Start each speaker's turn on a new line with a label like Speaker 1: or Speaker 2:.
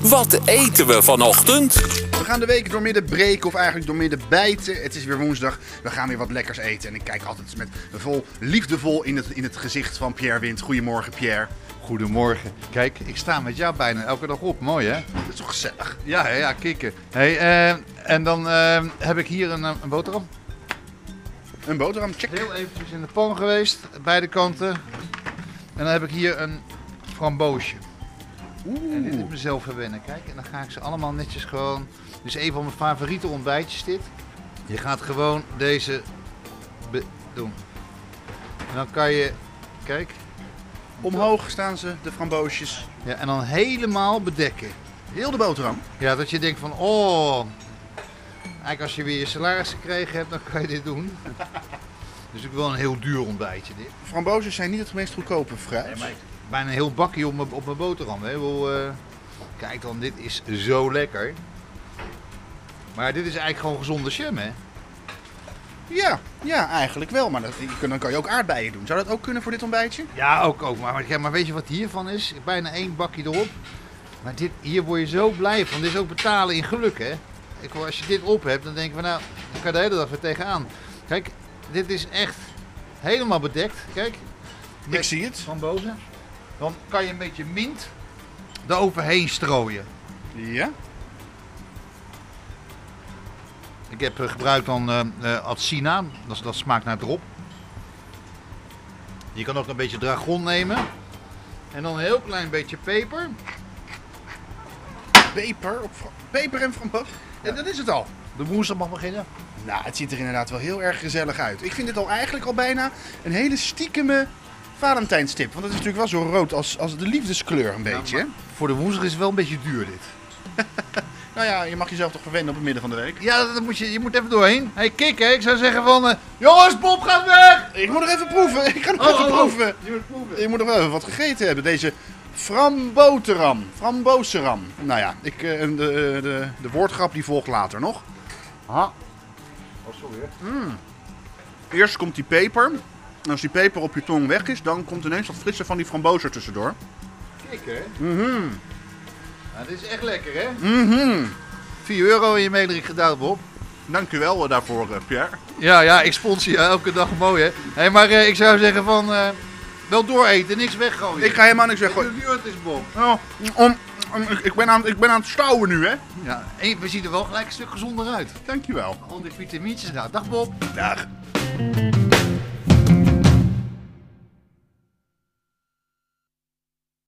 Speaker 1: Wat eten we vanochtend?
Speaker 2: We gaan de week door midden breken of eigenlijk door midden bijten. Het is weer woensdag. We gaan weer wat lekkers eten. En ik kijk altijd met vol liefdevol in het, in het gezicht van Pierre Wind. Goedemorgen, Pierre.
Speaker 3: Goedemorgen. Kijk, ik sta met jou bijna elke dag op. Mooi hè?
Speaker 2: Dat is toch gezellig?
Speaker 3: Ja, hè, ja, kikken. Hey, eh, en dan eh, heb ik hier een, eh, een boterham.
Speaker 2: Een boterham, check.
Speaker 3: Heel eventjes in de pan geweest, beide kanten. En dan heb ik hier een framboosje. En dit is
Speaker 2: Oeh.
Speaker 3: mezelf verwennen, kijk. En dan ga ik ze allemaal netjes gewoon... Dus een van mijn favoriete ontbijtjes dit. Je gaat gewoon deze be- doen. En dan kan je... Kijk.
Speaker 2: Omhoog staan ze, de framboosjes.
Speaker 3: Ja, en dan helemaal bedekken.
Speaker 2: Heel de boterham.
Speaker 3: Ja, dat je denkt van, oh, eigenlijk als je weer je salaris gekregen hebt, dan kan je dit doen. Dus ik wil een heel duur ontbijtje dit.
Speaker 2: Framboosjes zijn niet het meest goedkope fruit.
Speaker 3: Bijna een heel bakje op mijn, op mijn boterham. Hè. Ik bedoel, eh, kijk dan, dit is zo lekker. Maar dit is eigenlijk gewoon gezonde jam, hè?
Speaker 2: Ja, ja, eigenlijk wel. Maar dat, je- dan kan je ook aardbeien doen. Zou dat ook kunnen voor dit ontbijtje?
Speaker 3: Ja, ook, ook. Maar, maar- maar weet je wat hiervan is? Bijna één bakje erop. Maar dit, hier word je zo blij van. Dit is ook betalen in geluk, hè? Ik, wil- als je dit op hebt, dan denk je van nou, ik kan je de hele dag weer tegenaan. Kijk, dit is echt helemaal bedekt. Kijk,
Speaker 2: Ik zie het.
Speaker 3: van boven. Dan kan je een beetje mint eroverheen strooien. Oh.
Speaker 2: Ja.
Speaker 3: Ik heb eh, gebruikt dan eh eh, Atsina, dat, is- dat smaakt naar drop. Je kan ook een beetje dragon nemen. En dan een heel klein beetje peper.
Speaker 2: Peper, op fra- peper en framboos. En dat is het al.
Speaker 3: De woensdag mag beginnen.
Speaker 2: Nou, het ziet er inderdaad wel heel erg gezellig uit. Ik vind dit al eigenlijk al bijna een hele stiekeme Valentijnstip. Want het is natuurlijk wel zo rood als, als de liefdeskleur een beetje. hè?
Speaker 3: Voor de woensdag is het wel een beetje duur dit.
Speaker 2: Nou ja, je mag jezelf toch verwennen op het midden van de week.
Speaker 3: Ja, dat moet je, je moet even doorheen. hey, kik, hè? ik zou zeggen van... eh, jongens, Bob gaat weg!
Speaker 2: Ik moet nog even proeven. Ik ga nog even proeven.
Speaker 3: Oh, Je moet proeven.
Speaker 2: Je moet nog wel even wat gegeten hebben. Deze framboteram. Frambozeram. Nou ja, ik, eh, de, de, de woordgrap die volgt later nog. Ha.
Speaker 3: Oh, sorry. hè.
Speaker 2: Eerst komt die peper. En als die peper op je tong weg is, dan komt ineens dat frisse van die frambozer tussendoor.
Speaker 3: Kik, hè? Mhm. Nou, dit is echt lekker, hè? 4 Mhm. euro in je mailerik gedaan, Bob.
Speaker 2: Dank u wel eh, daarvoor, eh, Pierre.
Speaker 3: Ja, ja, ik sponsor je elke dag mooi, hè? hey, maar eh, ik zou zeggen van... eh, wel dooreten, niks weggooien.
Speaker 2: Ik ga helemaal niks
Speaker 3: Dit is
Speaker 2: weggooien.
Speaker 3: een buurt is, Bob.
Speaker 2: Nou, om, om- ik, ik, ben aan, ik ben aan het stouwen nu, hè.
Speaker 3: Ja, en we zien er wel gelijk een stuk gezonder uit.
Speaker 2: Dankjewel.
Speaker 3: Al die vitamintjes. Nou, dag Bob.
Speaker 2: Dag.